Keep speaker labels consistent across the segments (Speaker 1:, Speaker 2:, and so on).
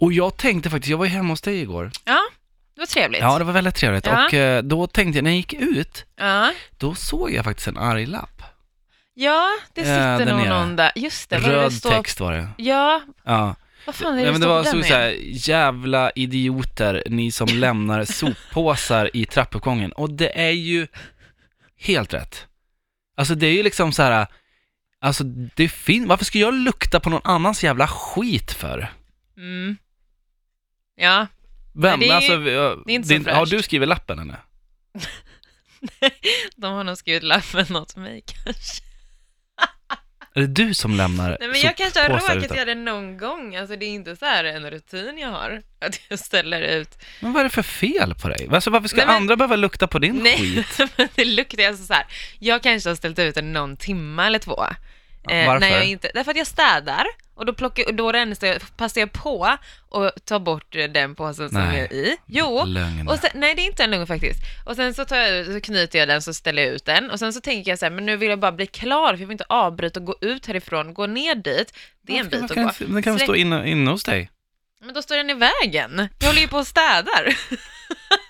Speaker 1: Och jag tänkte faktiskt, jag var ju hemma hos dig igår.
Speaker 2: Ja, det var trevligt.
Speaker 1: Ja, det var väldigt trevligt.
Speaker 2: Ja.
Speaker 1: Och eh, då tänkte jag, när jag gick ut,
Speaker 2: ja.
Speaker 1: då såg jag faktiskt en arg lapp.
Speaker 2: Ja, det
Speaker 1: Ja,
Speaker 2: sitter
Speaker 1: Eh, där
Speaker 2: nog
Speaker 1: nere.
Speaker 2: någon där. Just det, vad är det
Speaker 1: Röd
Speaker 2: det står...
Speaker 1: text var det.
Speaker 2: Ja,
Speaker 1: Ja.
Speaker 2: vad fan är det
Speaker 1: Nej, men det var så
Speaker 2: den
Speaker 1: så här, jävla idioter, ni som lämnar soppåsar i trappuppgången. Och det är ju helt rätt. Alltså det är ju liksom så här, alltså det finns, varför ska jag lukta på någon annans jävla skit för?
Speaker 2: Mm. Ja,
Speaker 1: Vem?
Speaker 2: Nej, det är-
Speaker 1: alltså,
Speaker 2: det är inte så fräscht.
Speaker 1: Har du skrivit lappen eller?
Speaker 2: de har nog skrivit lappen åt mig kanske.
Speaker 1: Är det du som lämnar
Speaker 2: Nej, men jag kanske har
Speaker 1: soppåsar
Speaker 2: råkat
Speaker 1: ute?
Speaker 2: göra det någon gång. Alltså det är inte så här en rutin jag har, att jag ställer ut.
Speaker 1: Men vad är det för fel på dig? Alltså, varför ska
Speaker 2: Nej, men-
Speaker 1: andra behöva lukta på din
Speaker 2: Nej,
Speaker 1: skit?
Speaker 2: men det luktar ju alltså så här. Jag kanske har ställt ut den någon timme eller två. Eh,
Speaker 1: varför?
Speaker 2: när jag inte, därför att jag städar och då, plockar, och då rensar jag, passar jag på och tar bort eh, den påsen som
Speaker 1: Nej.
Speaker 2: jag är i. Jo,
Speaker 1: Lögn.
Speaker 2: och sen, nej det är inte en lugn faktiskt. Och sen så, tar jag, ut- så knyter jag den så ställer jag ut den och sen så tänker jag så här, men nu vill jag bara bli klar för jag vill inte avbryta och gå ut härifrån, gå ner dit. Det är en
Speaker 1: Varför-
Speaker 2: bit att
Speaker 1: kan
Speaker 2: gå.
Speaker 1: den- Den kan väl
Speaker 2: Släng-
Speaker 1: stå inne, inne hos dig?
Speaker 2: Men då står den i vägen. Jag håller ju på och städar.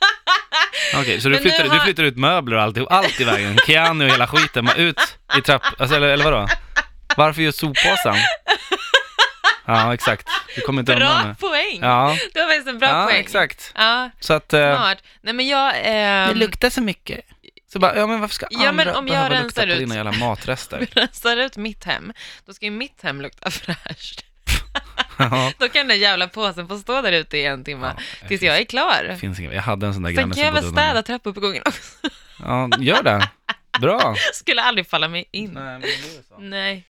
Speaker 1: Okej, så du
Speaker 2: Men nu
Speaker 1: flyttar, du
Speaker 2: har-
Speaker 1: flyttar ut möbler och allt, allt i vägen, Keanu och hela skiten, bara ut i trapp... Alltså, eller, eller vadå? Varför just soppåsen? Ja, exakt. Du kommer inte undan
Speaker 2: Bra
Speaker 1: det.
Speaker 2: poäng!
Speaker 1: Ja,
Speaker 2: Det var faktiskt en bra
Speaker 1: ja
Speaker 2: poäng.
Speaker 1: exakt.
Speaker 2: Ja,
Speaker 1: Så att... eh,
Speaker 2: Smart. Nej men jag...
Speaker 1: det
Speaker 2: ehm,
Speaker 1: luktar så mycket. Så bara, ja men varför ska
Speaker 2: Ja, men
Speaker 1: andra
Speaker 2: om jag
Speaker 1: behöva lukta
Speaker 2: rensar
Speaker 1: på
Speaker 2: ut-
Speaker 1: dina jävla matrester?
Speaker 2: rensar ut mitt hem, då ska ju mitt hem lukta fräscht.
Speaker 1: Ja.
Speaker 2: Då kan den jävla påsen få stå där ute i en timme,
Speaker 1: Ja,
Speaker 2: tills jag är klar.
Speaker 1: det finns inga, jag hade en sån där
Speaker 2: Sen
Speaker 1: granne
Speaker 2: kan jag väl
Speaker 1: bodde under
Speaker 2: städa trappuppgången också.
Speaker 1: mig. Ja, gör det. Bra.
Speaker 2: Skulle aldrig falla mig in.
Speaker 1: Nej, men det är så.
Speaker 2: Nej.